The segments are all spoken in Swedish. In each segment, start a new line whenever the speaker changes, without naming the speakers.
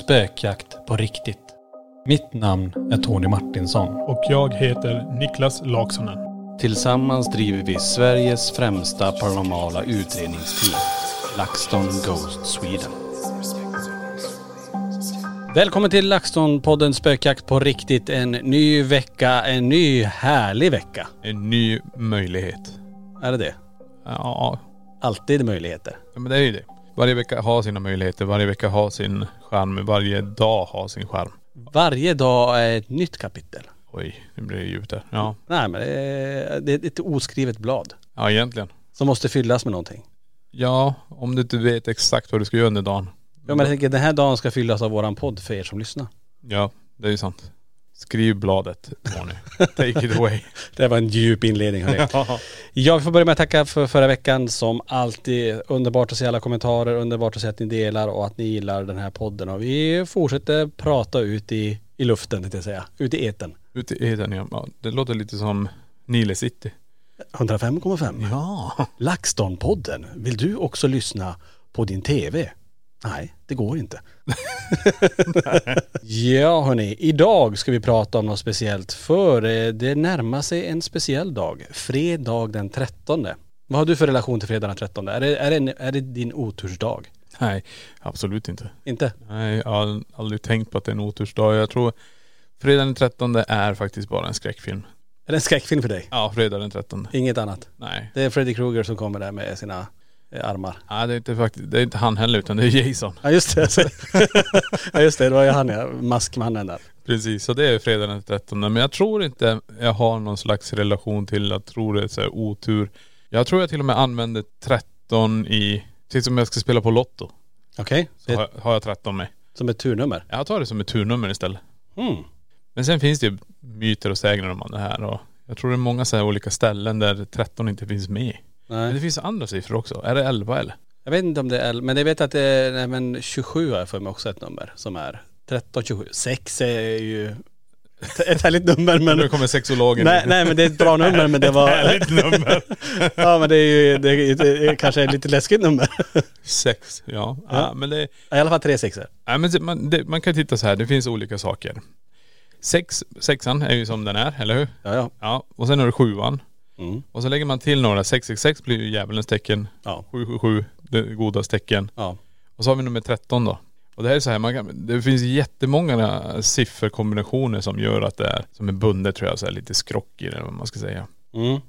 Spökjakt på riktigt. Mitt namn är Tony Martinsson.
Och jag heter Niklas Laksonen.
Tillsammans driver vi Sveriges främsta paranormala utredningsteam. LaxTon Ghost Sweden. Välkommen till LaxTon-podden Spökjakt på riktigt. En ny vecka, en ny härlig vecka.
En ny möjlighet.
Är det det?
Ja,
Alltid möjligheter.
ja, men det är ju det. Varje vecka har sina möjligheter, varje vecka har sin charm, varje dag har sin charm.
Varje dag är ett nytt kapitel.
Oj, nu blir det djupt där. Ja,
Nej men det är, det är ett oskrivet blad.
ja egentligen.
Som måste fyllas med någonting.
Ja, om du inte vet exakt vad du ska göra under dagen.
Ja men jag tänker den här dagen ska fyllas av våran podd för er som lyssnar.
Ja, det är ju sant. Skriv bladet, Tony. Take it away.
Det var en djup inledning hörni. Ja vi får börja med att tacka för förra veckan som alltid. Underbart att se alla kommentarer, underbart att se att ni delar och att ni gillar den här podden. Och vi fortsätter prata ut i, i luften tänkte jag säga. Ut i etern.
Ute i den, ja. Ja, Det låter lite som Nile City.
105,5.
Ja.
LaxTon-podden. Vill du också lyssna på din TV? Nej, det går inte. ja hörni, idag ska vi prata om något speciellt för eh, det närmar sig en speciell dag. Fredag den 13. Vad har du för relation till fredag den 13? Är det, är det, en, är det din otursdag?
Nej, absolut inte.
Inte?
Nej, jag har aldrig tänkt på att det är en otursdag. Jag tror fredag den 13 är faktiskt bara en skräckfilm.
Är det en skräckfilm för dig?
Ja, fredag den 13.
Inget annat?
Nej.
Det är Freddy Krueger som kommer där med sina eh, armar.
Nej, det är inte faktiskt, det är inte han heller utan det är Jason.
Ja just det. ja just det, det var ju han ja, maskmannen där.
Precis, så det är fredag den 13. Men jag tror inte jag har någon slags relation till, jag tror det är så här otur. Jag tror jag till och med använder 13 i, precis som jag ska spela på Lotto,
Okej,
så
det
har
är
jag, har jag 13 med.
som ett turnummer.
Jag tar det som ett turnummer istället.
Mm.
Men sen finns det ju myter och sägner om det här och jag tror det är många så här olika ställen där 13 inte finns med. Men det
Nej.
finns andra siffror också. Är det 11 eller?
Jag vet inte om det är, men jag vet att det är, nej men 27 har jag för mig också ett nummer som är 13, 27. 6 är ju ett härligt nummer men..
Nu kommer sexologen.
Nej, nej men det är ett bra nummer men det var..
Härligt nummer.
ja men det är ju, det, är, det är kanske ett lite läskigt nummer.
Sex, ja. ja. men det,
I alla fall tre sexor.
nej, men se- man, det, man kan titta så här, det finns olika saker. Sex, sexan är ju som den är, eller hur?
Ja ja.
Ja, och sen har du sjuan.
Mm.
Och så lägger man till några, 666 blir ju djävulens tecken.
Ja.
777, det godas tecken.
Ja.
Och så har vi nummer 13 då. Och det här är så här, man kan, det finns jättemånga sifferkombinationer som gör att det är, som är bundet tror jag, så här lite skrock i det, vad man ska säga.
Mm.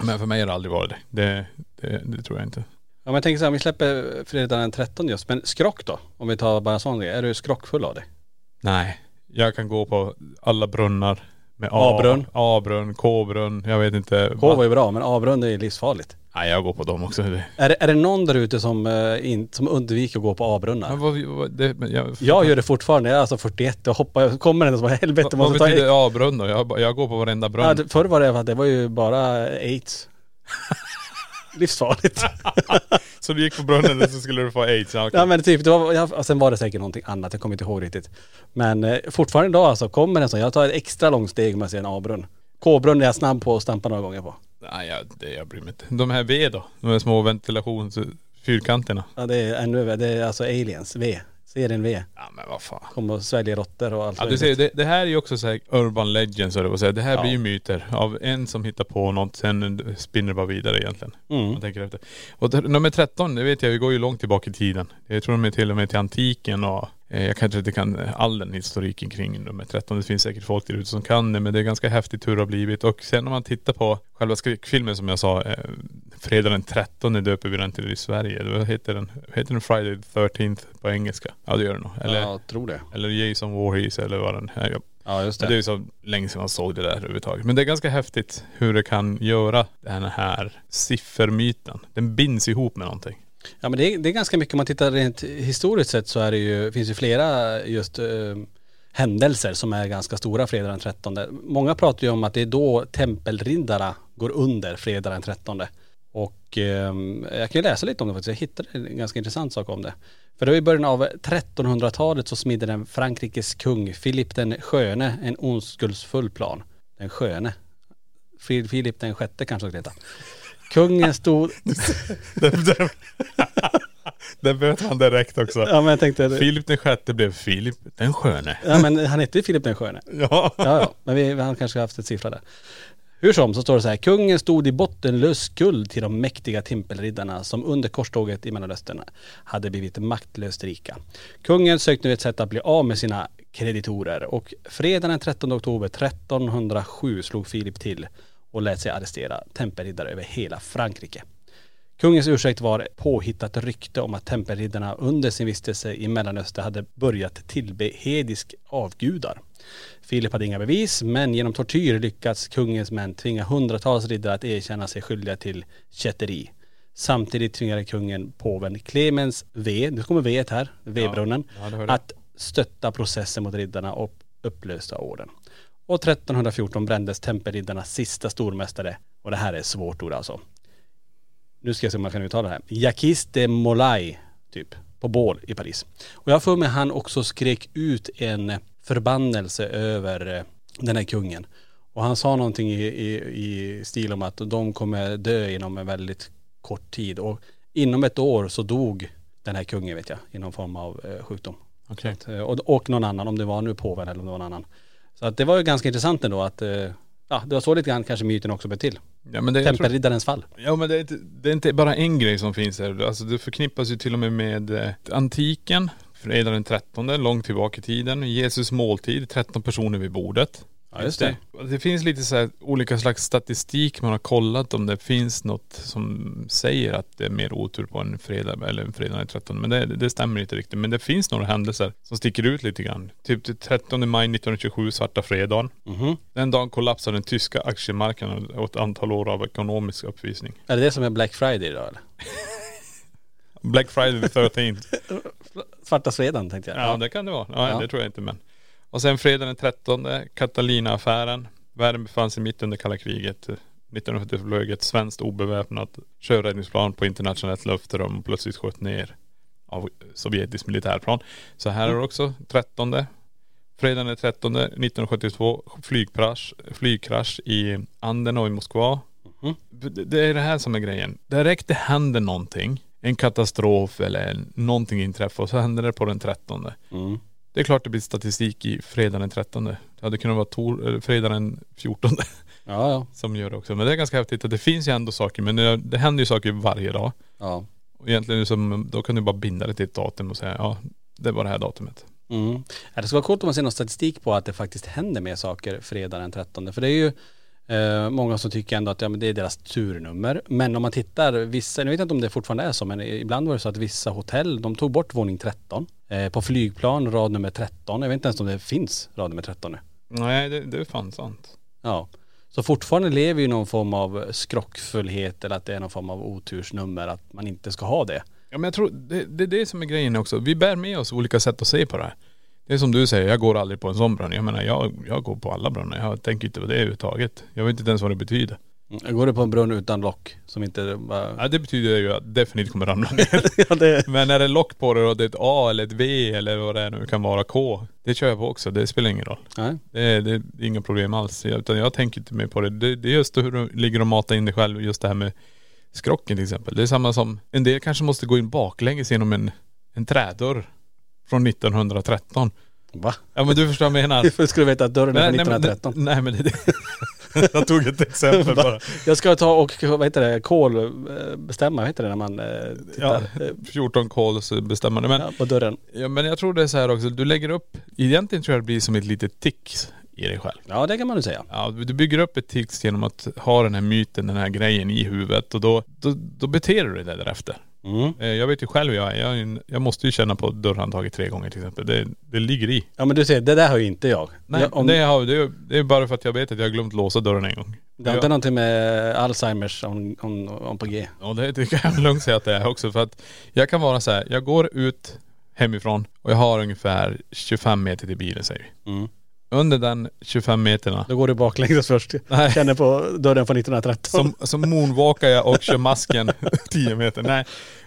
Men för mig har det aldrig varit det. Det, det, det tror jag inte.
Ja men jag tänker så här, om vi släpper fredag den 13 just, men skrock då? Om vi tar bara en sån grej, är du skrockfull av det?
Nej. Jag kan gå på alla brunnar med
A-brunn.
A-brunn, K-brunn, jag vet inte.
K var ju bra men A-brunn är ju livsfarligt.
Nej jag går på dem också. Det-
Är, det- är det någon där ute som, eh, in, som undviker att gå på
Men
avbrunnar?
vad, vad, det men jag,
Jag gör det fortfarande, jag är alltså 41 och hoppar, jag kommer den som
vad,
helvete
vad
måste ta
betyder
aids.
A-brunn då? Jag, jag går på varenda brunn.
Ja, det- förr var det för att det var ju bara aids. Livsfarligt.
Så du gick på brunnen så skulle du få aids? Ja, okej.
Ja men typ, det var, ja, sen var det säkert någonting annat, jag kommer inte ihåg riktigt. Men eh, fortfarande idag alltså, kommer en sån, jag tar ett extra långt steg om jag ser en A-brunn. K-brunn är jag snabb på och stampar några gånger på.
Nej jag, det, jag bryr mig inte. De här V då? De här små ventilationsfyrkanterna?
Ja det är ännu, det är alltså aliens, V. Serien V.
Ja men vad fan.
Kommer och sväljer råttor och allt
Ja, du
möjligt.
ser, det, det här är ju också så här urban legends, eller vad säger jag. Det här
alltså. Ja.
blir ju myter av en som hittar på något, sen spinner det bara vidare egentligen.
Mm.
Man tänker efter. Och det- nummer 13, det vet jag, vi går ju långt tillbaka i tiden. Jag tror de är till och med till antiken och eh, jag kanske inte kan all den historiken kring nummer 13. Det finns säkert folk där ute som kan det, men det är ganska häftigt hur det har blivit. Och sen om man tittar på själva skräckfilmen som jag sa, eh, fredag den 13 döper vi den till i Sverige. Vad heter den? Heter den Friday the 13th på engelska? Ja det gör den nog. Eller,
Ja, jag tror det.
eller Jason Voorhees eller vad den här
Ja just
det är ju så länge sedan man såg det där överhuvudtaget. Men det är ganska häftigt hur det kan göra den här siffermyten. Den binds ihop med någonting.
Ja men det är, det är ganska mycket, om man tittar rent historiskt sett så är det ju, finns ju flera just eh, händelser som är ganska stora fredag den 13. Många pratar ju om att det är då tempelriddarna går under fredag den 13. Och eh, jag kan ju läsa lite om det faktiskt, jag hittade en ganska intressant sak om det. För det var i början av 1300-talet så smidde den Frankrikes kung Filip den sköne en oskuldsfull plan. Den sköne. Fil- Filip den sjätte kanske det heter. Kungen stod...
Där böt han direkt också.
ja men jag tänkte...
Filip den sjätte blev Filip den sköne.
Ja men han hette ju Filip den sköne.
Ja.
Ja, ja. men vi, han kanske har haft ett siffra där. Hur som så står det så här, kungen stod i bottenlös skuld till de mäktiga tempelriddarna som under korståget i Mellanöstern hade blivit maktlöst rika. Kungen sökte nu ett sätt att bli av med sina kreditorer och fredagen den 13 oktober 1307 slog Filip till och lät sig arrestera tempelriddare över hela Frankrike. Kungens ursäkt var ett påhittat rykte om att tempelriddarna under sin vistelse i Mellanöstern hade börjat tillbe hedisk avgudar. Filip hade inga bevis, men genom tortyr lyckats kungens män tvinga hundratals riddare att erkänna sig skyldiga till kätteri. Samtidigt tvingade kungen påven Clemens V, nu kommer V här, V-brunnen,
ja, det hörde jag.
att stötta processen mot riddarna och upplösta orden. Och 1314 brändes tempelriddarnas sista stormästare, och det här är ett svårt ord alltså nu ska jag se om man kan uttala det här, Jacques de Molay typ, på bål i Paris. Och jag har för mig han också skrek ut en förbannelse över eh, den här kungen. Och han sa någonting i, i, i stil om att de kommer dö inom en väldigt kort tid. Och inom ett år så dog den här kungen vet jag, i någon form av eh, sjukdom.
Okej.
Eh, Och, och någon annan, om det var nu påven eller om det var någon annan. Så att det var ju ganska intressant ändå att, eh, ja det var så lite grann kanske myten också blev till.
Ja men, det, jag tror,
Tempelriddarens fall.
ja, men det, är inte, det är inte bara en grej som finns här. Alltså det förknippas ju till och med med eh, antiken. Fredag den 13, långt tillbaka i tiden. Jesus måltid, 13 personer vid bordet.
Ja just det.
det. Det finns lite så här olika slags statistik man har kollat om det finns något som säger att det är mer otur på en fredag eller en fredag den 13. Men det, det stämmer inte riktigt. Men det finns några händelser som sticker ut lite grann. Typ den 13 maj 1927, svarta fredagen. Den dagen kollapsade den tyska aktiemarknaden och ett antal år av ekonomisk uppvisning.
Är det det som är Black Friday idag eller?
Black Friday the 13
Svarta fredagen tänkte jag.
Ja det kan det vara. Ja,
Ja.
Det tror jag inte men. Och sen fredagen den 13, Catalina-affären. Världen befann sig mitt under kalla kriget. 1940 flög ett svenskt obeväpnat sjöräddningsplan på internationellt luftrum och plötsligt sköt ner av sovjetiskt militärplan. Så här är det också, 13. Fredagen den 13 1972 flygkrasch, flygkrasch i Anden och i Moskva. Det det är det här som är grejen. Direkt det händer någonting, en katastrof eller någonting inträffar och så händer det på den 13.
Mm.
Det är klart det blir statistik i fredagen den 13. Det hade kunnat vara tor- eller fredagen den 14
Ja, ja.
som gör det också. Men det är ganska häftigt att det finns ju ändå saker, men det, det händer ju saker varje dag.
ja.
Och egentligen är det som, då kan du bara binda det till ett datum och säga ja, det var det här datumet.
Mm. Ja, Det skulle vara coolt om man ser någon statistik på att det faktiskt händer mer saker fredag den 13. För det är ju eh, många som tycker ändå att ja, men det är deras turnummer. Men om man tittar, vissa, jag vet inte om det fortfarande är så, men ibland var det så att vissa hotell, de tog bort våning 13. Eh, på flygplan rad nummer 13, jag vet inte ens om det finns rad nummer 13 nu.
Nej det, det är fan sant.
Ja. Så fortfarande lever ju någon form av skrockfullhet eller att det är någon form av otursnummer att man inte ska ha det.
Ja men jag tror, det, det är det som är grejen också. Vi bär med oss olika sätt att se på det här. Det är som du säger, jag går aldrig på en sån brunn. Jag menar jag, jag går på alla brunnar. Jag tänker inte på det överhuvudtaget. Jag vet inte ens vad det betyder.
Mm. Går du på en brunn utan lock som inte bara..
Ja, det betyder ju att definitivt kommer ramla ner.
Ja, det,
Men är det lock på det och det är ett A eller ett V eller vad det är nu kan vara K. Det kör jag på också. Det spelar ingen roll.
nej.
Det är, det är inga problem alls. Jag- Utan jag tänker inte mer på det. det. Det är just hur du ligger och matar in dig själv. Just det här med skrocken till exempel. Det är samma som, en del kanske måste gå in baklänges genom en, en trädörr. Från 1913.
Va?
Ja men du förstår vad jag menar.
Hur ska du veta att dörren är från
men det-
1913?
nej men det, det Jag tog ett exempel bara.
Jag ska ta och, vad heter det, kolbestämma, vad heter det när man eh,
Ja,
tittar eh,
14 kols bestämmande. Men
ja, på dörren?
Ja men jag tror det är så här också, du lägger upp, egentligen tror jag det blir som ett litet tics i dig själv.
Ja det kan man ju säga.
Ja, du bygger upp ett tics genom att ha den här myten, den här grejen i huvudet och då, då, då beter du dig därefter.
Mm.
Eh, Jag vet ju själv hur jag är, jag, är en- jag måste ju känna på dörrhandtaget tre gånger till exempel. Det, det ligger i.
Ja men du ser, det där har ju inte jag.
Nej,
jag om,
det, har, det, är, det är bara för att jag vet att jag har glömt låsa dörren en gång.
det har inte någonting med Alzheimers om, om, om på G.
Ja det, det kan jag lugnt säga att det är också för att jag kan vara så här, jag går ut hemifrån och jag har ungefär 25 meter till bilen säger vi.
Mm.
Under den 25 meterna
Då går du baklänges först.
Nej.
Känner på dörren från 1913.
Som, som moonwalkar jag och kör masken 10 meter. Nej.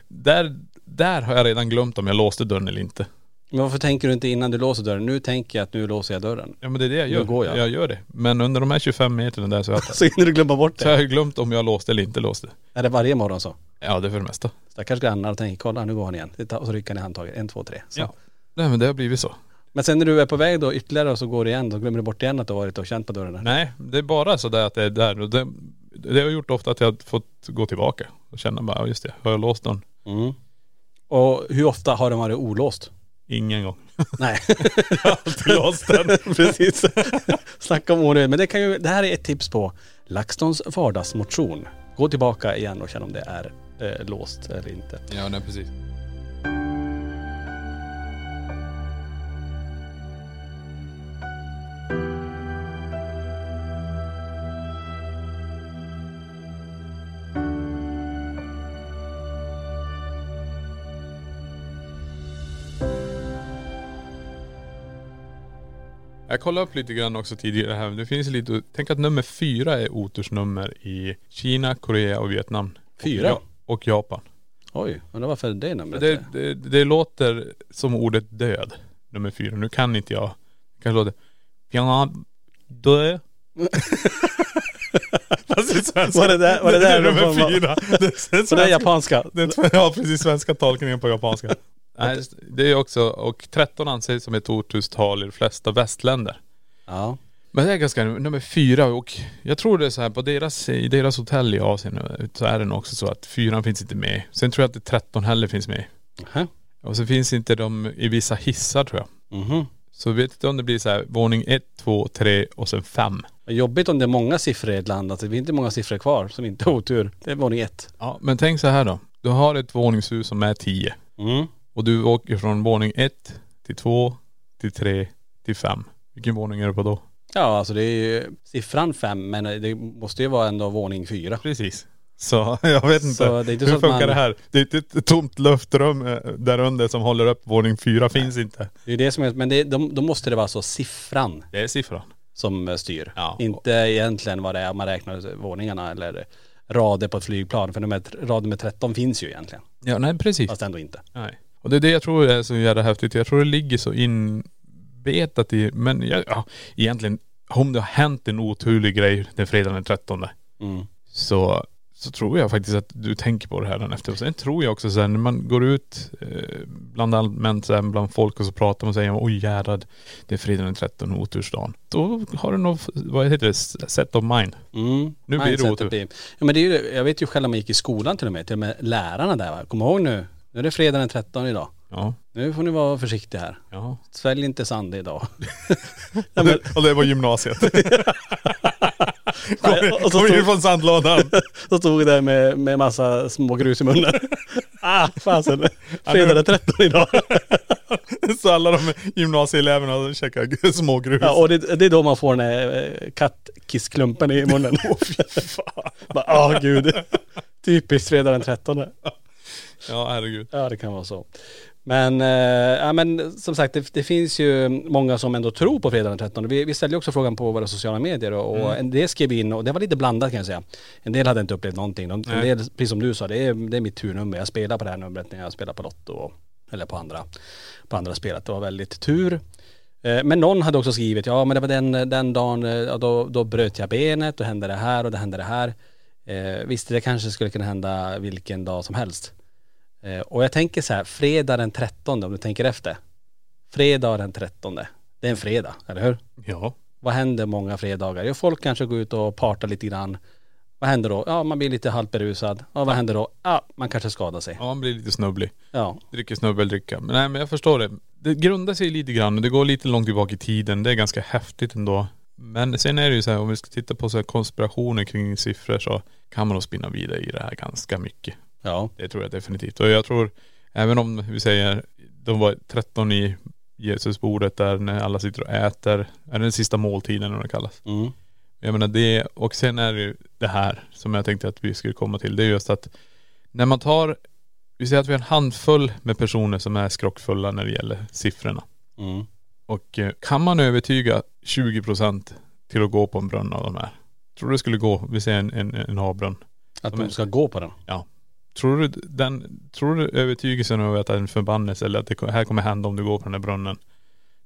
Där, där har jag redan glömt om jag låste dörren eller inte.
Men varför tänker du inte innan du låser dörren? Nu tänker jag att nu låser jag dörren.
Ja men det är det jag gör.
Nu går jag.
gör det. Men under de här 25 meterna där så har jag,
Så hinner du glömma bort
så har
det.
jag glömt om jag låste eller inte låste.
Är det varje morgon så?
Ja det är för det mesta.
Stackars grannar tänker, kolla nu går han igen. Och så rycker han i handtaget. En, två, tre. Så.
Ja. Nej men det har blivit så.
Men sen när du är på väg då ytterligare och så går det igen, då glömmer du bort igen att du har varit och känt på dörren. där.
Nej det är bara så där att det är där. Och Det, det har gjort ofta att jag har fått gå tillbaka och känna bara, ja just det, har jag låst dörren?
Mm. Och hur ofta har den varit olåst?
Ingen gång.
Nej.
låst den.
Precis. Snacka om onödigt. Men det, kan ju, det här är ett tips på LaxTons vardagsmotion. Gå tillbaka igen och känn om det är eh, låst eller inte.
Ja nej precis. Jag kollade upp lite grann också tidigare här. Det finns lite, tänk att nummer fyra är otursnummer i Kina, Korea och Vietnam.
Fyra?
Och, Ja- och Japan.
Oj, undrar varför det numret
Det,
är.
det, det låter som ordet död, nummer fyra. Nu kan inte jag. Det kanske låter.. Ja, dö. Fast det är svenska.
Var det där- var det där
är nummer
någon form av-
fyra. Det är
Så det är
svenska.
japanska.
Det är, ja precis, svenska tolkningen på japanska. Nej, just- det är också, och 13 anses som ett oturstal i de flesta västländer.
Ja.
Men det är ganska, nummer fyra och jag tror det är så här på deras, i deras hotell i Asien så är det nog också så att fyran finns inte med. Sen tror jag att det 13 heller finns med.
Nähä.
Och så finns inte de i vissa hissar tror jag.
Mhm.
Så vet inte om det blir så här våning 1, 2, 3 och sen 5.
Vad Jobbigt om det är många siffror i ett land. Alltså, det är inte många siffror kvar som inte har otur. Det är våning ett.
Ja men tänk så här då. Du har ett våningshus som är 10.
Mm.
Och du åker från våning 1 till 2 till 3 till 5. Vilken våning är du på då?
Ja, alltså det är ju siffran fem, men det måste ju vara ändå våning fyra.
Precis. Så jag vet inte.
Så det är inte så
Hur
att
funkar
man-
det här? Det är inte ett tomt luftrum eh, där under som håller upp våning 4 finns inte.
Det är ju det som är, men det, de, då måste det vara så siffran
Det är siffran.
som eh, styr.
Ja.
Inte egentligen vad det är om man räknar våningarna eller rader på ett flygplan. För de här, rad nummer 13 finns ju egentligen.
Ja nej precis.
Fast ändå inte.
Nej. Och det är det jag tror är så jävla häftigt. Jag tror det ligger så inbetat i, men jag, ja, egentligen om det har hänt en oturlig grej den fredagen den 13
Mm.
så, så tror jag faktiskt att du tänker på det här den efter. Och sen tror jag också sen när man går ut eh, bland allmänt så här, bland folk och så pratar man och säger oj jädrad, det är fredagen den 13 otursdagen. Då har du nog, vad heter det, set of mind.
Mm.
Nu blir det
Mindsetet
otur.
ja, men det är ju, jag vet ju själv när man gick i skolan till och med, till och med lärarna där va. Kom ihåg nu, nu är det fredag den 13 idag.
Ja.
Nu får ni vara försiktiga här.
Ja.
Svälj inte sand idag.
Och det, och det var gymnasiet.
och så
Kom in
stod-
från sandlådan.
Så stod vi där med, med massa små grus i munnen. ah, fasen. Fredag den 13 idag.
Så alla de gymnasieeleverna käkar smågrus.
Ja, och det, det är då man får den här eh, kattkissklumpen i munnen. Åh fy fan. Åh gud. Typiskt fredag den 13.
Ja herregud.
Ja det kan vara så. Men, eh, ja, men som sagt det, det finns ju många som ändå tror på fredag den 13. Vi, vi ställde ju också frågan på våra sociala medier och, och en del skrev in och det var lite blandat kan jag säga. En del hade inte upplevt någonting. De, en
Nej.
del, precis som du sa, det är, det är mitt turnummer. Jag spelar på det här numret när jag spelar på Lotto och, eller på andra, på andra spelet. Det var väldigt tur. Eh, Men någon hade också skrivit, ja men det var den, den dagen, eh, ja, då, då bröt jag benet, då hände det här och det hände det här. Eh, visst, det kanske skulle kunna hända vilken dag som helst. Eh, och jag tänker så här, fredag den 13 om du tänker efter. Fredag den 13, det är en fredag, eller hur?
Ja.
Vad händer många fredagar? Jo, folk kanske går ut och partar lite grann. Vad händer då? Ja, man blir lite halvt berusad. Ja, vad händer då? Ja, man kanske skadar sig.
Ja han blir lite snubblig.
Ja,
Dricker snubbeldricka. Men nej men jag förstår det. Det grundar sig lite grann och det går lite långt tillbaka i tiden. Det är ganska häftigt ändå. Men sen är det ju så här om vi ska titta på så här konspirationer kring siffror så kan man nog spinna vidare i det här ganska mycket.
ja,
Det tror jag definitivt. Och jag tror, även om vi säger, de var 13 i Jesusbordet där när alla sitter och äter, är det den sista måltiden eller vad det kallas?
mm.
Jag menar det, och sen är det ju det här som jag tänkte att vi skulle komma till. Det är just att när man tar, vi säger att vi har en handfull med personer som är skrockfulla när det gäller siffrorna.
Mm.
Och eh, kan man övertyga 20% till att gå på en brunn av de här? Tror du det skulle gå, vi säger en, en, en havbrunn.
att
Men-
de ska gå på den.
Tror du, den, tror du övertygelsen över att det är en förbannelse eller att det ko- här kommer hända om du går på den där brunnen.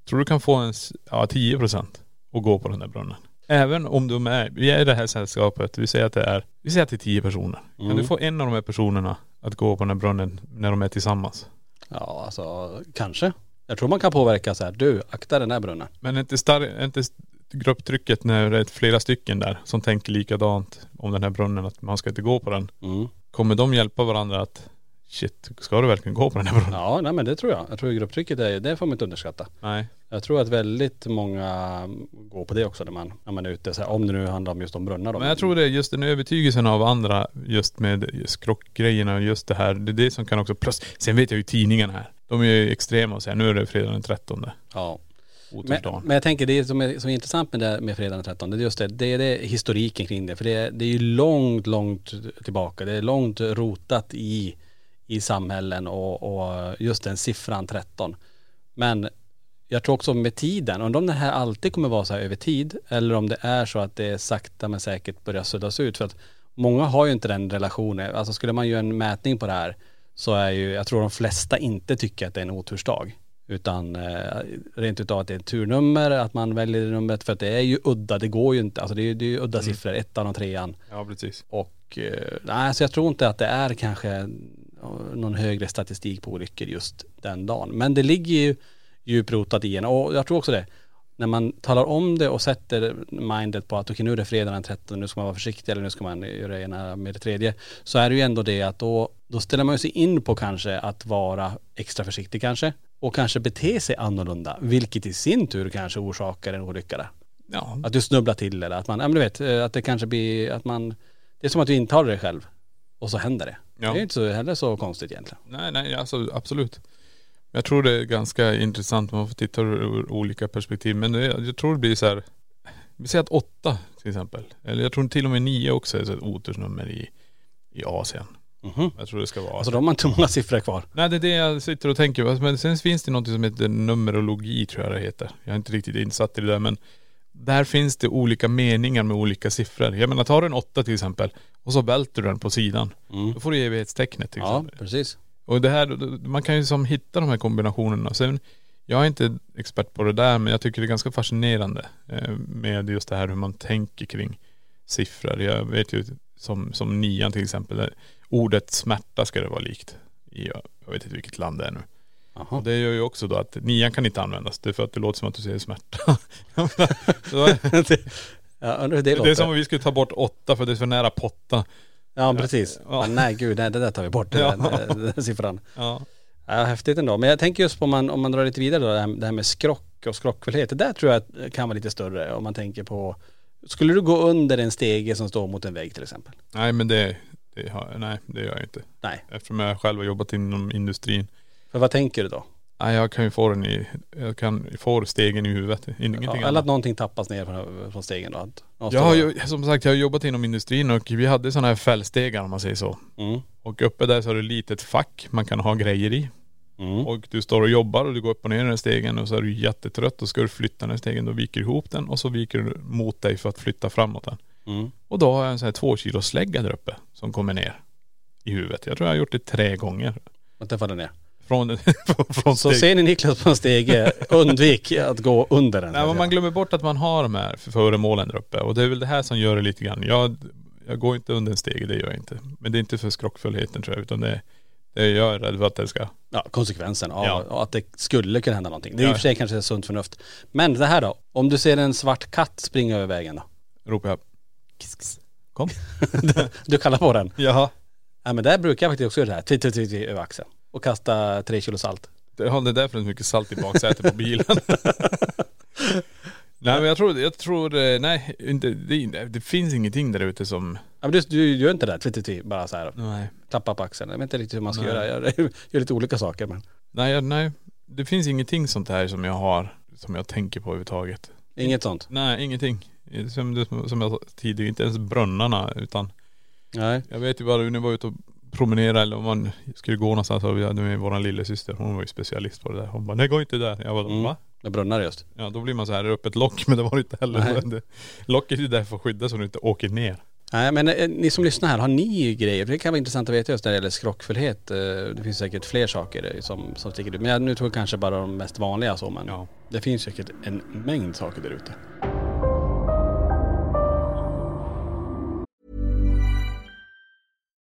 Tror du kan få en, s- ja 10 procent att gå på den där brunnen? Även om de är, vi är i det här sällskapet, vi säger att det är, vi säger att det är 10 personer. Kan du få en av de här personerna att gå på den här brunnen när de är tillsammans?
Ja, alltså kanske. Jag tror man kan påverka så här, du akta den där brunnen.
Men är inte, star, är inte st- grupptrycket när det är flera stycken där som tänker likadant om den här brunnen, att man ska inte gå på den.
Mm.
Kommer de hjälpa varandra att shit, ska du verkligen gå på den här brunnen?
Ja, nej men det tror jag. Jag tror grupptrycket är, det får man inte underskatta.
Nej.
Jag tror att väldigt många går på det också när man, när man är ute, så här, om det nu handlar om just om brunnar då.
Men jag tror det är just den övertygelsen av andra, just med skrockgrejerna och just det här, det är det som kan också plus. Sen vet jag ju tidningarna här, de är ju extrema och säger nu är det fredag den 13.
Ja. Men,
Otursdagen.
men jag tänker det som är, som är intressant med, det, med fredagen den 13, det är just det, det är det, historiken kring det. För det, är- det är ju långt, långt tillbaka. Det är långt rotat i, i samhällen och, och just den siffran 13. Men jag tror också med tiden, undrar om det här alltid kommer vara så här över tid eller om det är så att det sakta men säkert börjar suddas ut. För att många har ju inte den relationen. Alltså skulle man göra en mätning på det här så är ju, jag tror de flesta inte tycker att det är en otursdag. Utan eh, rent utav att det är ett turnummer, att man väljer det numret för att det är ju udda, det går ju inte. Alltså det är ju, det är ju udda siffror, ettan och trean.
Ja precis.
Och eh, nej, så jag tror inte att det är kanske eh, någon högre statistik på olyckor just den dagen. Men det ligger ju djupt rotat i en och jag tror också det. När man talar om det och sätter mindet på att okej nu är det fredag den 13, nu ska man vara försiktig eller nu ska man göra det ena med det tredje. Så är det ju ändå det att då, då ställer man ju sig in på kanske att vara extra försiktig kanske. Och kanske bete sig annorlunda, vilket i sin tur kanske orsakar en olycka där.
Ja.
Att du snubblar till eller att man, ja men du vet, eh, att det kanske blir, att man, det är som att du intalar dig själv och så händer det.
Ja.
Det är inte så, heller så konstigt egentligen.
Nej nej alltså absolut. Jag tror det är ganska intressant, man får titta ur, ur olika perspektiv. Men det, jag tror det blir så här, vi säger att åtta till exempel. Eller jag tror till och med nio också är så ett otursnummer i, i Asien.
Mhm.
Jag tror det ska vara
Alltså de har inte många siffror kvar.
Nej det är det jag sitter och tänker på. Men sen finns det något som heter numerologi tror jag det heter. Jag är inte riktigt insatt i det där men där finns det olika meningar med olika siffror. Jag menar tar du en åtta till exempel och så välter du den på sidan. Då får du evighetstecknet till
Ja,
exempel.
precis.
Och det här, man kan ju som hitta de här kombinationerna. Sen, jag är inte expert på det där men jag tycker det är ganska fascinerande eh, med just det här hur man tänker kring siffror. Jag vet ju som, som nian till exempel, där ordet smärta ska det vara likt. I, jag vet inte vilket land det är nu.
Jaha.
Och det gör ju också då att nian kan inte användas, det är för att det låter som att du säger smärta. Jag menar, så det-
Ja, undrar hur det,
det är
låter.
som om vi skulle ta bort åtta för det är för nära potta.
Ja, precis.
Ja.
Ja, nej, gud, nej, det där tar vi bort,
Ja.
den, den, den siffran.
Ja.
Ja, häftigt ändå. Men jag tänker just på om man, om man drar lite vidare då, det här, det här med skrock och skrockfullhet. Det där tror jag kan vara lite större om man tänker på, skulle du gå under en stege som står mot en vägg till exempel?
Nej men det, det, har, nej, det gör jag inte.
Nej,
Eftersom jag själv har jobbat inom industrin.
för vad tänker du då?
Nej jag kan ju få den i, jag kan få stegen i huvudet. Ingenting
Ja, eller att
annat.
någonting tappas ner från, från stegen då. Att, någon
Jag
står-
har ju, som sagt jag har jobbat inom industrin och vi hade sådana här fällstegar om man säger så.
Mm.
Och uppe där så har du ett litet fack man kan ha grejer i.
Mm.
Och du står och jobbar och du går upp och ner i den här stegen och så är du jättetrött och ska du flytta den här stegen. Då viker du ihop den och så viker du mot dig för att flytta framåt den.
Mm.
Och då har jag en sån här två kilos slägga där uppe som kommer ner i huvudet. Jag tror jag har gjort det tre gånger.
Och den faller ner.
Från, från
Så
steg-
ser ni Niklas på en stege, undvik att gå under den.
Nej, men man glömmer bort att man har de här föremålen där uppe. Och det är väl det här som gör det lite grann. Jag, jag går inte under en steg, det gör jag inte. Men det är inte för skrockfullheten tror jag, utan det, det är jag är rädd för att det ska..
ja, konsekvensen av
Ja.
av att det skulle kunna hända någonting. Det är i
Ja.
och för sig kanske sunt förnuft. Men det här då, om du ser en svart katt springa över vägen då?
ropar jag. Kom.
Du kallar på den.
Jaha.
Ja men där brukar jag faktiskt också göra det här, tvi, tvi, tvi, tvi, över axeln. Och kasta tre kilo salt.
Det har det därför så mycket salt i baksätet på bilen. nej men jag tror, jag tror, eh, nej inte, det, det finns ingenting där ute som..
Ja men du, du gör inte det där, tvi, tvi, tvi, bara så här,
Nej.
klappa på axeln. Jag vet inte riktigt hur man ska
Nej.
göra, jag gör lite olika saker men.
Nej, jag- nej. Det finns ingenting sånt här som jag har, som jag tänker på överhuvudtaget.
Inget sånt?
Nej, ingenting. Som, du- som jag sa tidigare, inte ens brunnarna utan
Nej.
jag vet ju bara när vi var ute och promenerade eller om man skulle gå någonstans och vi hade med våran lillasyster, hon var ju specialist på det där. Hon bara, nej gå inte där. Jag bara,
Mm.
va?
Med brunnar just.
Ja då blir man så här, är det öppet lock? Men det var det inte heller.
Nej.
Det, locket är ju där för att skydda så du inte åker ner.
Nej men eh, ni som lyssnar här, har ni grejer? För det kan vara intressant att veta just när det gäller skrockfullhet. Eh, Det finns säkert fler saker eh, som, som sticker ut. Men jag, nu tror jag kanske bara de mest vanliga så men.
Ja.
Det finns säkert en mängd saker där ute.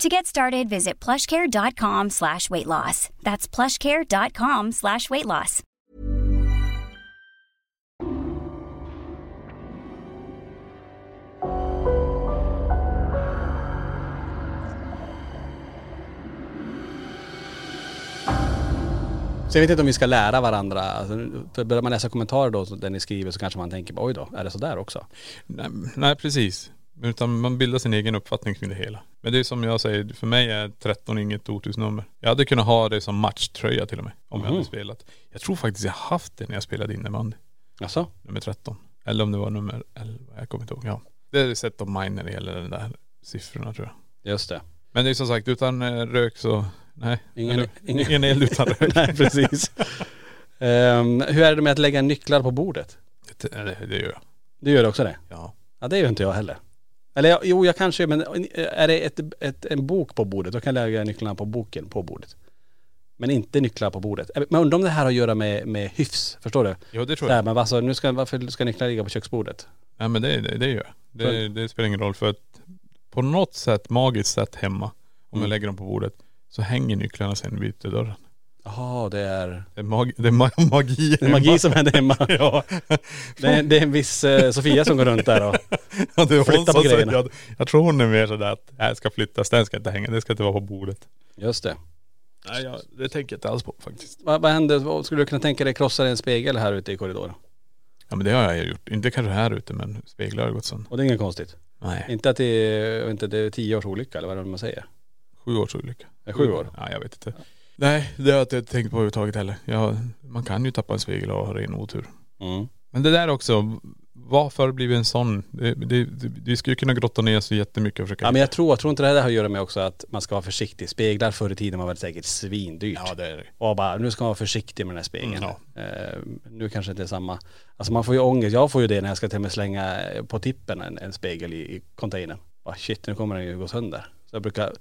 To get started, visit plushcare.com slash weight loss. That's plushcare.com slash weight loss.
Så jag vet inte om vi ska lära varandra. Alltså, För börjar man läsa kommentarer då så- där ni skriver så kanske man tänker oj då, är det sådär också?
Nej, nej precis. Utan man bildar sin egen uppfattning kring det hela. Men det är som jag säger, för mig är 13 inget otursnummer. Jag hade kunnat ha det som matchtröja till och med. Om jag
Mhm.
hade spelat. Jag tror faktiskt jag haft det när jag spelade innebandy.
Alltså?
Nummer 13. Eller om det var nummer 11, jag kommer inte ihåg. Ja. Det är set of mind när det gäller de där siffrorna tror jag.
Just det.
Men det är som sagt, utan eh, rök så, nej.
Ingen-
Eller,
ingen-
ingen eld utan rök.
Nej precis. Ehm, hur är det med att lägga nycklar på bordet?
Det, det, det gör jag.
Du gör också det?
Ja.
Ja det gör inte jag heller. Eller jag- jo jag kanske men eh, är det ett, ett, en bok på bordet då kan jag lägga nycklarna på boken på bordet. Men inte nycklar på bordet. Eh, Men undrar om det här har att göra med, med hyfs, förstår du?
Jo det tror jag.
Där, men alltså, nu ska, varför ska nycklar ligga på köksbordet?
Nej men det, det, det gör jag. Det, det spelar ingen roll för att på något sätt, magiskt sätt hemma, om
Mm.
jag lägger dem på bordet, så hänger nycklarna sen vid ytterdörren.
Jaha det är..
Det är, mag, det är ma- magi
Det är magi som händer hemma.
Ja.
Det är, det är en viss eh, Sofia som går runt där och..
ja det är
Flytta
hon
på
som
grejerna.
säger att, jag tror hon är mer sådär att, nej ska flyttas, den ska inte hänga, det ska inte vara på bordet.
Just det.
Nej jag, det tänker jag inte alls på faktiskt.
Vad, vad händer, vad skulle du kunna tänka dig krossar en spegel här ute i korridoren?
Ja men det har jag gjort, inte kanske här ute men speglar har gått sönder.
Och det är inget konstigt.
Nej,
Inte att det är, jag vet inte, det är tio års olycka eller vad är det man säger?
sju års olycka.
Det är sju år.
Ja jag vet inte. Nej det har jag inte tänkt på överhuvudtaget heller. Jag, man kan ju tappa en spegel och ha ren otur.
Mm.
Men det där också, Varför har det blivit en sån? Det, det, det, vi skulle kunna grotta ner så jättemycket och försöka
Ja men jag tror, jag tror inte det här har att göra med också att man ska vara försiktig. Speglar förr i tiden var väl säkert svindyrt.
Ja, det är det.
Och bara, nu ska man vara försiktig med den här spegeln.
Mm,
eh, nu kanske inte det är samma. Alltså man får ju ångest, jag får ju det när jag ska till och med slänga eh, på tippen en, en spegel i, i containern. Bara, shit nu kommer den ju gå sönder. Så jag brukar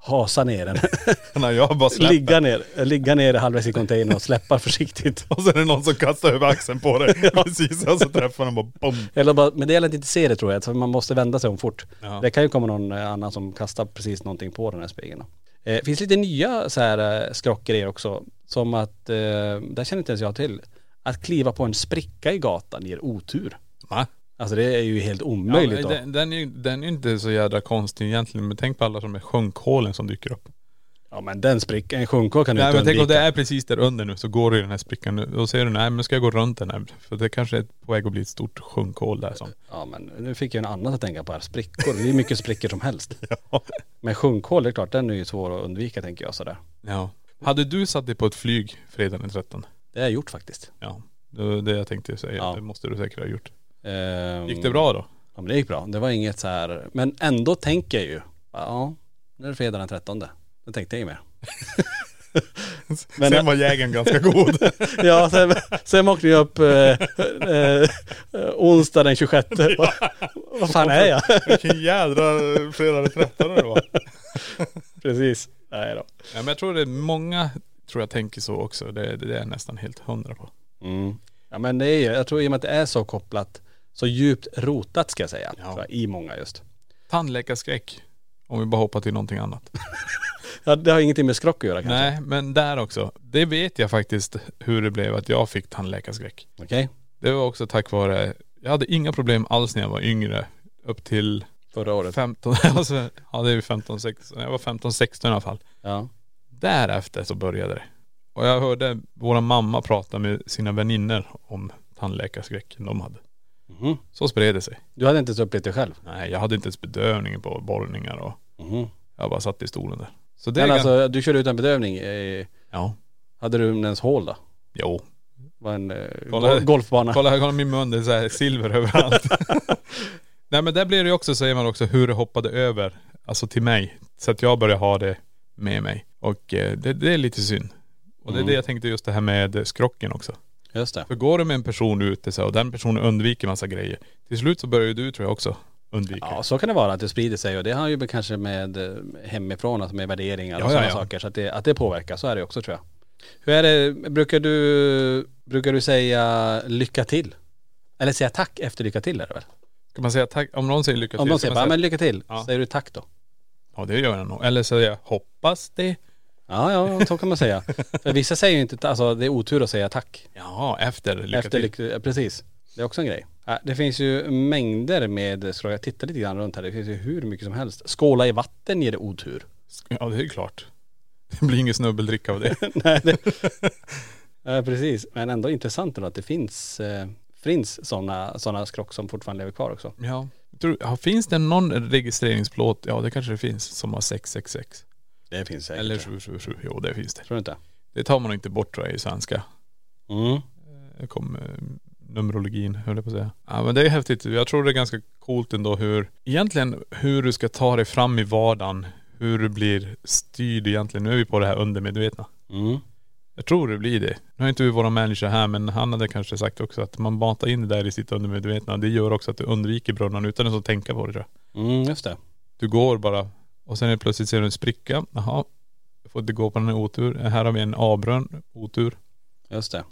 hasa ner den.
När jag bara släpper.
ligga ner, eh, ligga ner halvvägs i containern och släppa försiktigt.
Och så är det någon som kastar över axeln på dig. Precis, och så träffar den och bara bom.
Eller bara, men det gäller att inte se det tror jag, så man måste vända sig om fort.
Ja.
Det kan ju komma någon eh, annan som kastar precis någonting på den här spegeln. Det eh, finns lite nya så här eh, skrockgrejer också. Som att, eh, där känner inte ens jag till, att kliva på en spricka i gatan ger otur.
Va?
Alltså det är ju helt
Ja,
omöjligt
men
då.
den, den, är, ju- den är ju inte så jävla konstig egentligen. Men tänk på alla som är sjunkhålen som dyker upp.
Ja men den sprickan, en sjunkhål kan du
Nej
inte
men tänk
undvika.
om det är precis där under nu så går du i den här sprickan nu. Då ser du, nej men ska jag gå runt den här? För det kanske är på väg att bli ett stort sjunkhål där som.
Ja men nu fick jag en annan att tänka på här, sprickor. Det är mycket sprickor som helst. Men sjunkhål, det är klart, den är ju svår att undvika tänker jag sådär.
Ja. Hade du satt dig på ett flyg fredagen den 13?
Det har jag gjort faktiskt.
Ja. Det var det jag tänkte säga.
Ja.
Det måste du säkert ha gjort.
Ehm,
Gick det bra då?
Ja men det gick bra. Det var inget så här, men ändå tänker jag ju, ja nu är det fredag den 13. Då tänkte jag ju mer. Men-
Sen var jägen ganska god.
Ja sen, sen åkte jag upp eh, eh, onsdag den 26. Vad, vad fan är jag?
Vilken jädra fredag den 13 det var.
Precis. Nej då.
Ja, men jag tror det är många tror jag tänker så också. Det, det är jag nästan helt hundra på.
Mm. Ja men det är ju, jag tror i och med att det är så kopplat, så djupt rotat ska jag säga,
Ja.
tror jag, i många just.
Tandläkarskräck. Om vi bara hoppar till någonting annat.
Ja, det har ingenting med skrock att göra kanske.
Nej men där också. Det vet jag faktiskt hur det blev att jag fick tandläkarskräck.
Okej,
Det var också tack vare, jag hade inga problem alls när jag var yngre. Upp till
förra året.
15, alltså, ja det är ju 15, 16, jag var 15, 16 i alla fall.
Ja.
Därefter så började det. Och jag hörde våra mamma prata med sina väninnor om tandläkarskräcken de hade.
Mhm.
Så spred det sig.
Du hade inte ens upplevt det själv?
Nej jag hade inte ens bedövningen på borrningar och
Mhm.
jag bara satt i stolen där. Så det är
Men
ganska,
alltså du körde utan bedövning, eh,
ja,
hade du ens hål då?
jo.
var en eh,
Kolla-
gol- golfbana.
Kolla, kolla min mun, det är så här silver överallt. Nej men där blir det ju också, säger man också, hur det hoppade över. Alltså till mig. Så att jag började ha det med mig. Och eh, det, det är lite synd. Och det är
Mm.
det jag tänkte just det här med eh, skrocken också.
Just det.
För går du med en person ute så här, och den personen undviker massa grejer. Till slut så börjar ju du tror jag också undvika.
Ja så kan det vara att det sprider sig och det har ju med- kanske med eh, hemifrån, alltså med värderingar
Ja,
och
ja,
sådana
ja.
saker. Så att det, att det påverkar, så är det också tror jag. Hur är det, brukar du, brukar du säga lycka till? Eller säga tack efter lycka till är det väl?
Kan man säga tack, om någon säger lycka till.
Om de
ska
säger
man
bara,
säga,
men lycka till,
Ja.
säger du tack då?
Ja det gör jag nog. Eller säga hoppas det.
Ja, ja, så kan man säga. För vissa säger ju inte, ta- alltså det är otur att säga tack.
Ja efter lycka
Efter
till.
lyck- ja, precis. Det är också en grej. Ja, Det finns ju mängder med, så jag tittar lite grann runt här, det finns ju hur mycket som helst. Skåla i vatten ger det otur.
ja det är ju klart. Det blir ingen snubbeldricka av det.
Nej, det... ja, precis. Men ändå intressant ändå att det finns, eh, finns sådana såna skrock som fortfarande lever kvar också.
Ja. Tror, ja, finns det någon registreringsplåt, ja det kanske det finns, som har 666?
Det finns säkert.
Eller 777, jo det finns det.
Tror du inte?
Det tar man nog inte bort tror jag i svenska.
Mm.
Det kom eh, Numerologin höll jag på att säga. Ja men det är häftigt. Jag tror det är ganska coolt ändå hur, egentligen hur du ska ta dig fram i vardagen. Hur du blir styrd egentligen. Nu är vi på det här undermedvetna.
Mm.
Jag tror det blir det. Nu har inte vi våra manager här men han hade kanske sagt också att man matar in det där i sitt undermedvetna. Det gör också att du undviker brunnen utan ens att tänka på det tror jag.
Mm, just det.
Du går bara och sen är det plötsligt ser du en spricka. Jaha. Jag får inte gå på den här otur. Här har vi en avbrunn. Otur.
Just det.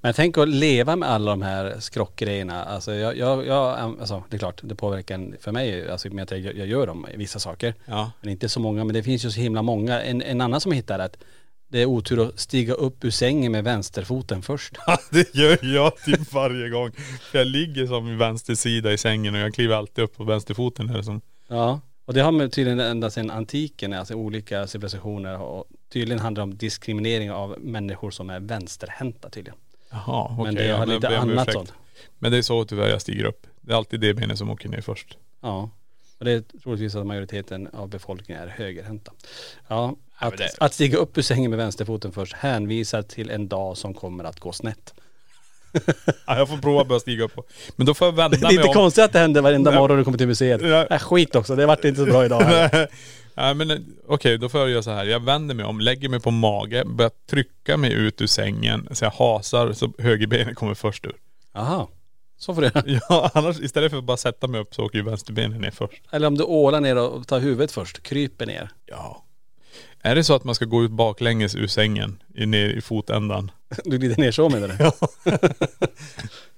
Men tänk att leva med alla de här skrockgrejerna. Alltså, jag, jag, jag, alltså det är klart, det påverkar en, för mig, alltså, med att jag, jag gör dem, vissa saker.
Ja.
Men inte så många, men det finns ju så himla många. En, en annan som jag hittade att det är otur att stiga upp ur sängen med vänsterfoten först.
det gör jag typ varje gång. För jag ligger som i vänster sida i sängen och jag kliver alltid upp på vänsterfoten. Här som.
Ja, och det har man tydligen ända sedan antiken, alltså olika civilisationer. Och tydligen handlar det om diskriminering av människor som är vänsterhänta tydligen.
Jaha okej.
men det
ja,
har
jag
lite
ber om
annat
ursäkt.
sånt.
Men det är så tyvärr jag stiger upp. Det är alltid det benet som åker ner först.
Ja, och det är troligtvis att majoriteten av befolkningen är högerhänta. Ja,
men
att,
det-
att stiga upp ur sängen med vänsterfoten först hänvisar till en dag som kommer att gå snett.
Ja, jag får prova att börja stiga upp på. Men då får jag vända
Det
mig
är inte
om.
konstigt att det händer varenda
Nej.
morgon du kommer till museet.
Ja.
Äh, skit också, det vart inte så bra idag. här.
Nej men eh, okej, då får jag göra så här. Jag vänder mig om, lägger mig på mage, börjar trycka mig ut ur sängen. Så jag hasar så högerbenet kommer först ur.
Jaha. Så får du göra.
Ja, annars istället för att bara sätta mig upp så åker ju vänsterbenet ner först.
Eller om du ålar ner och tar huvudet först, kryper ner.
Ja. Är det så att man ska gå ut baklänges ur sängen, i- ner i fotändan?
Du glider ner så menar du?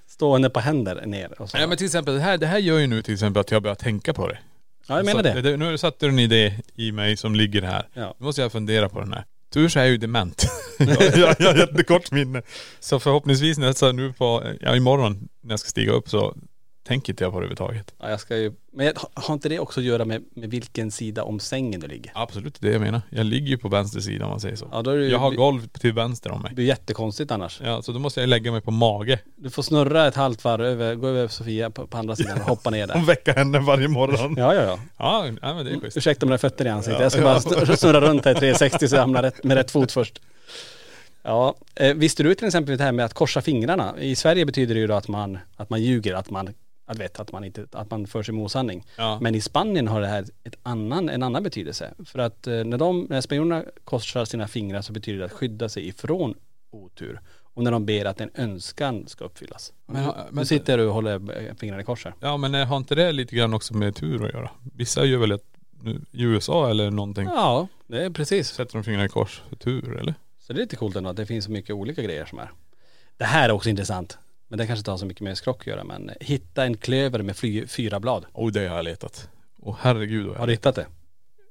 Stående på händer ner och så.
Nej men till exempel det här, det här gör ju nu till exempel att jag börjar tänka på det.
ja, jag menar
Så att-
det.
Nu satte du en idé i mig som ligger här.
Ja.
Nu måste jag fundera på den här. Tur så är jag ju dement. jag, jag, jag har jättekort minne. Så förhoppningsvis nästa nu på, ja imorgon när jag ska stiga upp så tänker inte jag på det överhuvudtaget.
Ja, jag ska ju... Men jag, har inte det också att göra med, med vilken sida om sängen du ligger?
Absolut det jag menar. Jag ligger ju på vänster sida om man säger så.
Ja, då är det ju-
Jag har golv till vänster om mig.
Det blir jättekonstigt annars.
Ja, så då måste jag lägga mig på mage
Du får snurra ett halvt varv, över, gå över Sofia på, på andra sidan och hoppa ner där.
och väcka henne varje morgon.
Ja, ja, ja.
Ja, nej, men det är schysst.
Ursäkta mina fötter i ansiktet. Jag ska bara snurra- snurra runt här i 360 så jag hamnar rätt, med rätt fot först. Ja, eh, visste du till exempel det här med att korsa fingrarna? I Sverige betyder det ju då att man, att man ljuger, att man, att vet, att man inte, att man för sig med osanning.
Ja.
Men i Spanien har det här ett annan, en annan betydelse. För att eh, när, de, när spanjorerna korsar sina fingrar så betyder det att skydda sig ifrån otur. Och när de ber att en önskan ska uppfyllas.
Men-
Men,
men-
nu sitter du och håller eh, fingrarna i kors här.
Ja men eh, har inte det lite grann också med tur att göra? Vissa gör väl ett, i USA eller någonting,
Ja, det är precis.
sätter de fingrarna i kors för tur eller?
Så det är lite coolt ändå att det finns så mycket olika grejer som är. Det här är också intressant. Men det kanske inte har så mycket med skrock att göra men hitta en klöver med fly, fyra blad.
Oh det har jag letat. Och herregud vad jag
Har du hittat det?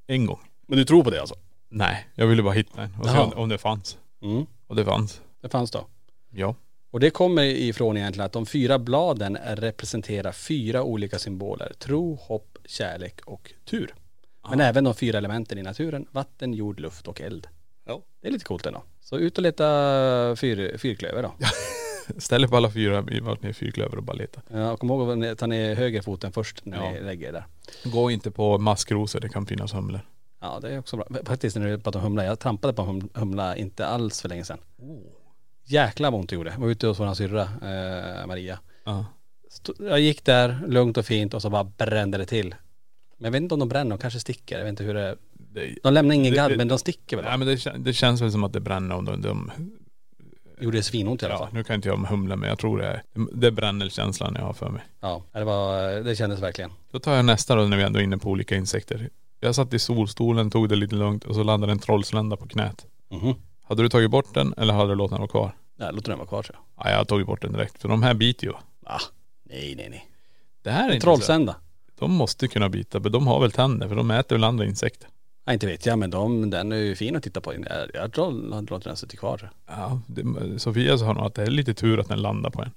En gång.
Men du tror på det alltså?
Nej, jag ville bara hitta en och se
Jaha.
om, om det fanns.
Mm,
Och det fanns.
det fanns då.
Ja.
Och det kommer ifrån egentligen att de fyra bladen representerar fyra olika symboler. Tro, hopp, kärlek och tur. Men även de fyra elementen i naturen. Vatten, jord, luft och eld.
Ja.
Det är lite coolt ändå. Så ut och leta fyr, fyrklöver då.
Ställ upp alla fyra, vi vart ner i fyrklöver och bara leta.
Ja, och kom ihåg att ta ner högerfoten först när
Ja.
ni lägger er där.
Gå inte på maskrosor, det kan finnas humlor.
Ja det är också bra. Faktiskt när du pratar om humla, jag trampade på en hum- humla inte alls för länge sedan.
Oh.
Jäkla vad ont det gjorde. Jag var ute hos våran syrra eh, Maria.
Ja.
Stod, jag gick där lugnt och fint och så bara brände det till. Men jag vet inte om de bränner, de kanske sticker. Jag vet inte hur det är.
Det,
De lämnar ingen
Det-
gadd
det-
men de sticker väl?
nej men det, kän- det känns väl som att det bränner om de, de
Gjorde det svinont i alla
ja,
fall.
nu kan inte jag om humla men jag tror det är, det bränner känslan jag har för mig.
Ja, det, var, det kändes verkligen.
Då tar jag nästa då när vi ändå är inne på olika insekter. Jag satt i solstolen, tog det lite lugnt och så landade en trollslända på knät.
Mhm.
Hade du tagit bort den eller hade du låtit den vara kvar?
Nej, låt den vara kvar tror jag.
Ja, jag har tagit bort den direkt för de här biter ju.
Ah, nej nej nej.
Det här är inte så-
Trollsända.
De måste kunna bita men de har väl tänder för de äter väl andra insekter.
Ja, inte vet jag men de, den är ju fin att titta på. Jag, jag tror- hade låtit den sitta kvar.
Ja, det, Sofia sa nog att det är lite tur att den landar på en.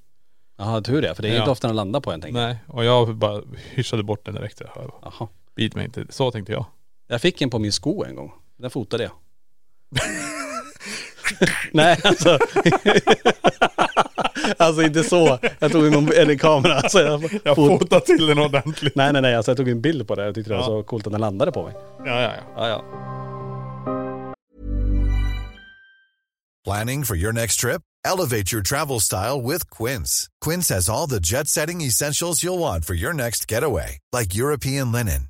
Jaha tur det, för det är
Ja.
inte ofta den landar på en tänker jag.
Nej, och jag bara hyschade bort den direkt. Jag,
Jaha.
Bit mig inte, så tänkte jag.
Jag fick en på min sko en gång. Den fotade jag. Nej alltså. alltså inte så. Jag tog en, en kamera. Alltså, jag,
Jag
fot-
fotade till den ordentligt.
Nej nej nej alltså jag tog en bild på det. Jag tyckte det
Ja.
var så coolt att den landade på mig.
Ja, ja, ja.
Ja ja.
Planning for your next trip? Elevate your travel style with Quince. Quince has all the jet setting essentials you'll want for your next getaway, like European linen,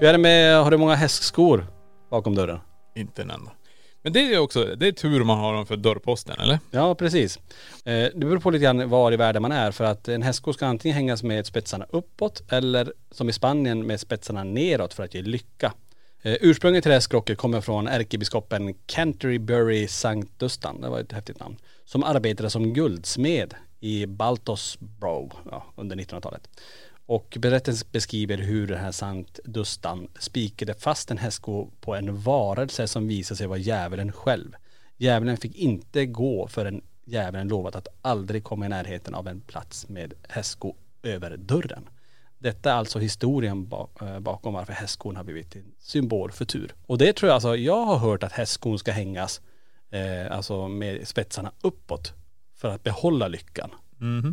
Hur är det med, har du många hästskor bakom dörren?
Inte en enda. Men det är ju också, det är tur man har dem för dörrposten eller?
Ja precis. Eh, Det beror på lite grann var i världen man är för att en hästsko ska antingen hängas med spetsarna uppåt eller som i Spanien med spetsarna neråt för att ge lycka. Eh, Ursprunget till det här skrocket kommer från ärkebiskopen Canterbury Sankt Dustan, det var ett häftigt namn, som arbetade som guldsmed i Baltosbro ja, under 1900-talet. Och berättelsen beskriver hur den här Sankt Dustan spikade fast en hästsko på en varelse som visade sig vara djävulen själv. Djävulen fick inte gå förrän djävulen lovat att aldrig komma i närheten av en plats med hästsko över dörren. Detta är alltså historien ba- eh, bakom varför hästskon har blivit en symbol för tur. Och det tror jag alltså, jag har hört att hästskon ska hängas eh, alltså med spetsarna uppåt för att behålla lyckan.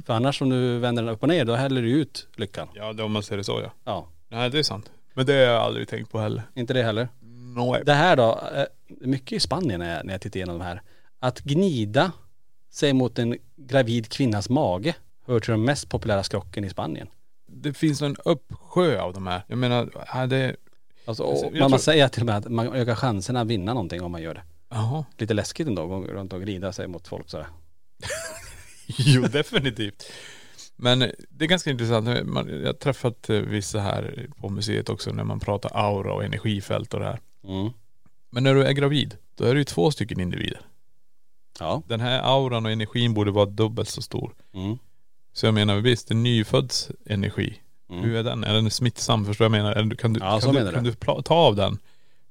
För annars om du vänder den upp och ner då häller du ut lyckan.
Ja det, om man ser det så ja.
Ja,
Nej det är sant. Men det har jag aldrig tänkt på heller.
inte det heller.
Nej.
Det här då, eh, mycket i Spanien när jag, när jag tittar igenom de här. Att gnida sig mot en gravid kvinnas mage hör till de mest populära skrocken i Spanien.
Det finns en uppsjö av de här. Jag menar, ja, det..
Alltså,
Jag
och
tror-
man, man säger till och med att man ökar chanserna att vinna någonting om man gör det.
Jaha.
Lite läskigt ändå att gå runt och grida sig mot folk sådär.
Jo definitivt. Men det är ganska intressant. Man- Jag har träffat eh, vissa här på museet också när man pratar aura och energifält och det här.
Mm.
Men när du är gravid, då är det ju två stycken individer.
Ja.
Den här auran och energin borde vara dubbelt så stor.
Mm.
Så jag menar visst, en nyfödds energi, hur är den? Är den smittsam? Förstår jag vad jag menar? Är du- Kan du,
Mm. Ja, så
kan du,
menar du.
kan du pla- ta av den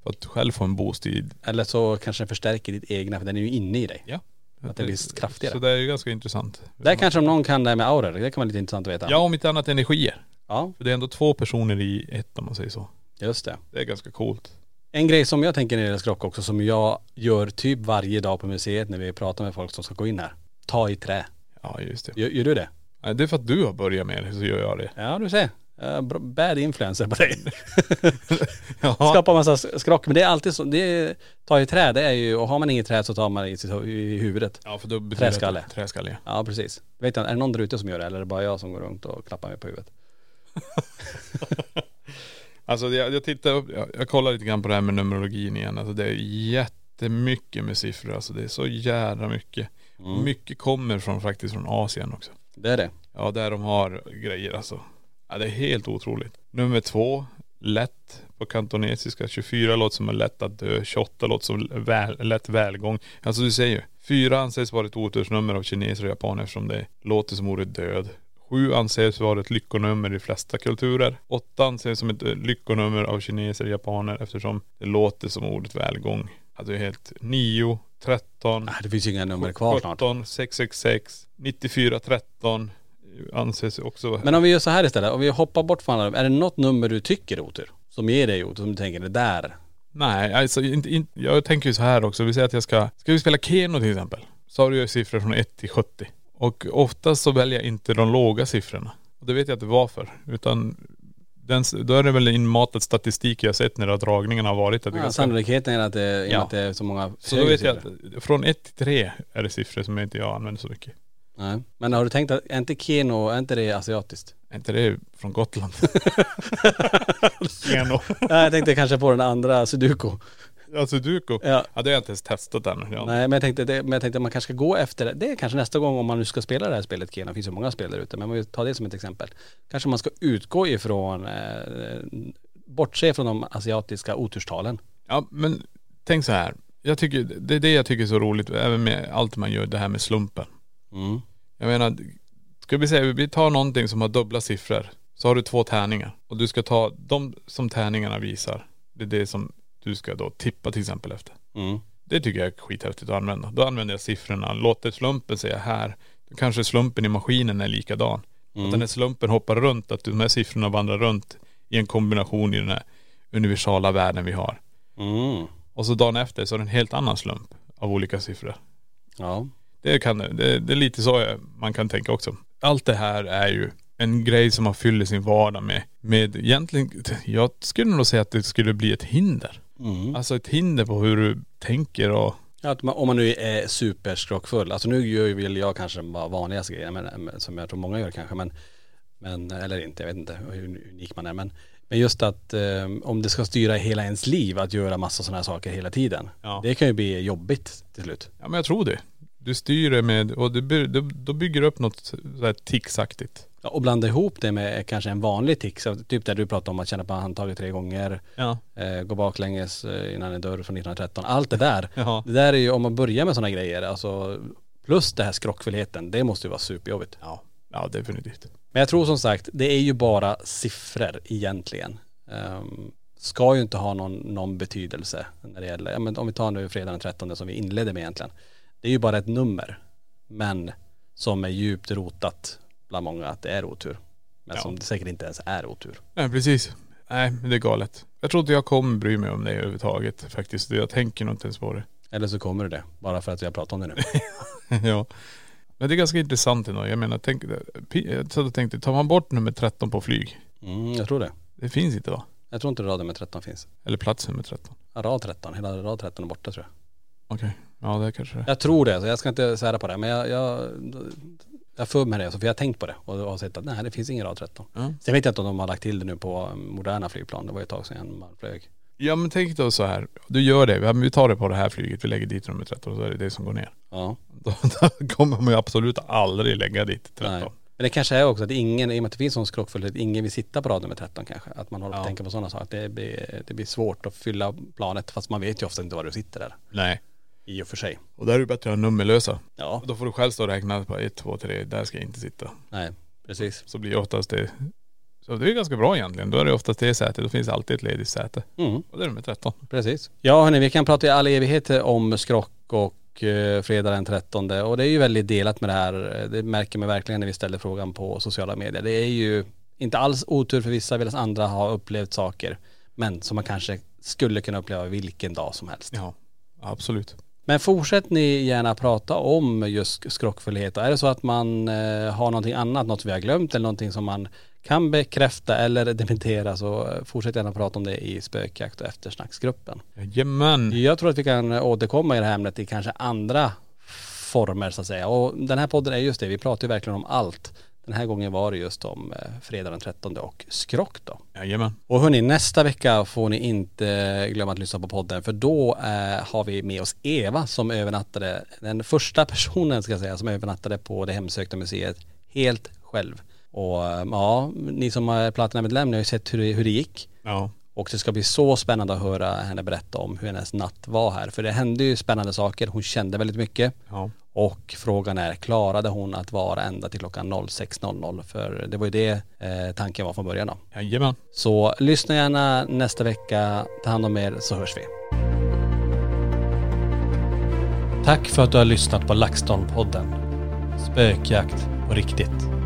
för att själv få en boost i..
Eller så kanske den förstärker ditt egna för den är ju inne i dig.
Ja.
Att den blir kraftigare.
Så det är ju ganska intressant.
Där kanske om någon kan det här med auror, det kan vara lite intressant att veta.
Ja om inte annat energier.
ja
För det är ändå två personer i ett om man säger så.
just det.
Det är ganska coolt.
En grej som jag tänker när det gäller skrock också som jag gör typ varje dag på museet när vi pratar med folk som ska gå in här. Ta i trä.
Ja just det.
Gör, gör du det?
Nej, Det är för att du har börjat med det så gör jag det.
Ja du ser. Eh, bra- Bad influencer på dig.
Ja.
Skapar massa s- skrock. Men det är alltid så, det är, ta i trä det är ju, och har man inget trä så tar man det i, sitt, hu- i huvudet.
Ja för då betyder det-
Träskalle.
Träskalle ja.
Ja precis. Vet jag, är det någon där ute som gör det eller är det bara jag som går runt och klappar mig på huvudet?
Alltså jag, jag tittar upp, jag, jag kollar lite grann på det här med numerologin igen. Alltså det är jättemycket med siffror. Alltså det är så jädra mycket. Mycket kommer från faktiskt från Asien också.
Det är det.
Ja där de har grejer alltså. Ja det är helt otroligt. Nummer två, lätt på kantonesiska. 24 låter som en lätt att dö. 28 låter som väl, lätt välgång. Alltså du ser ju. Fyra anses vara ett otursnummer av kineser och japaner eftersom det låter som ordet död. Sju anses vara ett lyckonummer i de flesta kulturer. Åtta anses som ett eh, lyckonummer av kineser och japaner eftersom det låter som ordet välgång. Alltså det är helt nio, tretton.
Ah, Det finns ju inga nummer kvar snart.
17, 666, 94, 13 anses också.
Men om vi gör så här istället, om vi hoppar bort från alla, är det något nummer du tycker är otur? Som ger dig otur, som du tänker det där?
Nej, alltså inte, inte, jag tänker ju så här också. Vi säger att jag ska, ska vi spela Keno till exempel. Så har du ju siffror från 1 till 70. Och oftast så väljer jag inte de låga siffrorna. Och det vet jag inte varför. Utan den, då är det väl inmatad statistik jag har sett när dragningarna har varit. Att det är
Ja,
ganska-
sannolikheten är att det,
Ja.
ja. att det är så många
så då vet jag
högre siffror.
att från 1 till 3 är det siffror som inte jag använder så mycket.
Nej. Men har du tänkt att, är inte Keno, är inte det asiatiskt?
Är inte det från Gotland? Keno.
Nej jag tänkte kanske på den andra sudoku.
Alltså Duco?
Ja.
ja det har jag inte ens testat än. Jag-
Nej men jag tänkte, det, men jag tänkte att man kanske ska gå efter det. Det är kanske nästa gång om man nu ska spela det här spelet Keno, det finns ju många spel där ute, men man vill ta det som ett exempel. Kanske man ska utgå ifrån, eh, bortse från de asiatiska oturstalen.
Ja men tänk så här. Jag tycker, det är det jag tycker är så roligt även med allt man gör, det här med slumpen.
Mm.
Jag menar, ska vi säga, vi tar någonting som har dubbla siffror. Så har du två tärningar och du ska ta de som tärningarna visar. Det är det som du ska då tippa till exempel efter.
Mm.
Det tycker jag är skithäftigt att använda. Då använder jag siffrorna. Låter slumpen säga här. Då kanske slumpen i maskinen är likadan. Att den här slumpen hoppar runt, att de här siffrorna vandrar runt i en kombination i den här universala världen vi har.
Mm.
Och så dagen efter så är det en helt annan slump av olika siffror.
Ja.
Det, kan, det, det är lite så jag- man kan tänka också. Allt det här är ju en grej som man fyller sin vardag med. Med egentligen, jag skulle nog säga att det skulle bli ett hinder.
Mm.
Alltså ett hinder på hur du tänker och..
Att man, om man nu är superskrockfull, alltså nu gör ju väl jag kanske bara vanligaste grejer, men, men, som jag tror många gör kanske, men, men eller inte, jag vet inte hur unik man är, men, men just att eh, om det ska styra hela ens liv att göra massa sådana här saker hela tiden,
Ja.
det kan ju bli jobbigt till slut.
Ja men jag tror det. Du styr det med, och du, by- du, då bygger du upp något så här ticsaktigt.
Ja, Och blanda ihop det med kanske en vanlig tics, av- typ där du pratade om att känna på handtaget tre gånger,
Ja.
eh, gå baklänges eh, innan en dörr från 1913, allt det där.
Jaha.
Det där är ju, om man börjar med sådana grejer, alltså plus det här skrockfullheten, det måste ju vara superjobbigt.
Ja. Ja definitivt.
Men jag tror som sagt, det är ju bara siffror egentligen. Um, ska ju inte ha någon, någon betydelse när det gäller, ja, men om vi tar nu fredagen den 13 som vi inledde med egentligen. Det är ju bara ett nummer, men som är djupt rotat bland många att det är otur. Men
Ja.
som det säkert inte ens är otur.
Nej precis. Nej men det är galet. Jag tror inte jag kommer bry mig om det överhuvudtaget faktiskt. Jag tänker nog inte ens på det.
Eller så kommer det, bara för att vi har pratat om det nu.
ja. Men det är ganska intressant ändå. Jag menar, tänk, jag satt och tänkte, tar man bort nummer 13 på flyg?
Mm, jag tror det.
Det finns inte va?
Jag tror inte raden med 13 finns.
Eller plats nummer 13.
Ja, Rad 13, hela rad 13 är borta tror jag.
Okej. Ja det kanske det är.
Jag tror det, så jag ska inte sära på det. Men jag, jag, jag för mig det, så för jag har tänkt på det och har sett att nej, det finns ingen rad 13.
Ja.
Sen vet jag inte om de har lagt till det nu på eh, moderna flygplan. Det var ju ett tag sedan man flög.
ja men tänk då så här. Du gör det. Ja, men Vi tar det på det här flyget. Vi lägger dit nummer 13 och så är det det som går ner.
Ja.
Då, då kommer man ju absolut aldrig lägga dit
Nej.
13.
Men det kanske är också att ingen, i och med att det finns sån skrockfullhet, ingen vill sitta på rad nummer 13 kanske. Att man håller på
Ja.
att tänka på sådana saker. Det blir, det blir svårt att fylla planet fast man vet ju ofta inte var du sitter där.
Nej.
I och för sig.
Och där är det bättre att ha nummerlösa.
Ja,
Då får du själv stå och räkna på 1, 2, 3, där ska jag inte sitta.
nej, precis.
Så blir det oftast det. Så det är ganska bra egentligen. Då är det oftast det sätet. Då finns alltid ett ledigt säte.
Mm.
Och det är nummer 13.
Precis. Ja hörni, vi kan prata i all evighet om skrock och eh, fredag den 13 och det är ju väldigt delat med det här. Det märker man verkligen när vi ställer frågan på sociala medier. Det är ju inte alls otur för vissa, medan andra har upplevt saker. Men som man kanske skulle kunna uppleva vilken dag som helst.
Ja, absolut.
Men fortsätt ni gärna prata om just skrockfullhet. Är det så att man eh, har någonting annat, något vi har glömt eller någonting som man kan bekräfta eller dementera så eh, fortsätt gärna prata om det i spökjakt och eftersnacksgruppen.
Jajamän.
Jag tror att vi kan återkomma i det här ämnet i kanske andra former så att säga. Och den här podden är just det, vi pratar ju verkligen om allt. Den här gången var det just om eh, fredag den 13 och skrock då.
Jajamän.
Och hörni, nästa vecka får ni inte glömma att lyssna på podden för då eh, har vi med oss Eva som övernattade, den första personen ska jag säga som övernattade på det hemsökta museet helt själv. Och eh, ja, ni som är Platinamedlem, ni har ju sett hur det, hur det gick.
Ja.
Och det ska bli så spännande att höra henne berätta om hur hennes natt var här. För det hände ju spännande saker, hon kände väldigt mycket.
Ja.
Och frågan är, klarade hon att vara ända till klockan 06.00? För det var ju det eh, tanken var från början då.
Jajamän.
Så lyssna gärna nästa vecka, ta hand om er så hörs vi. Tack för att du har lyssnat på LaxTon-podden. Spökjakt på riktigt.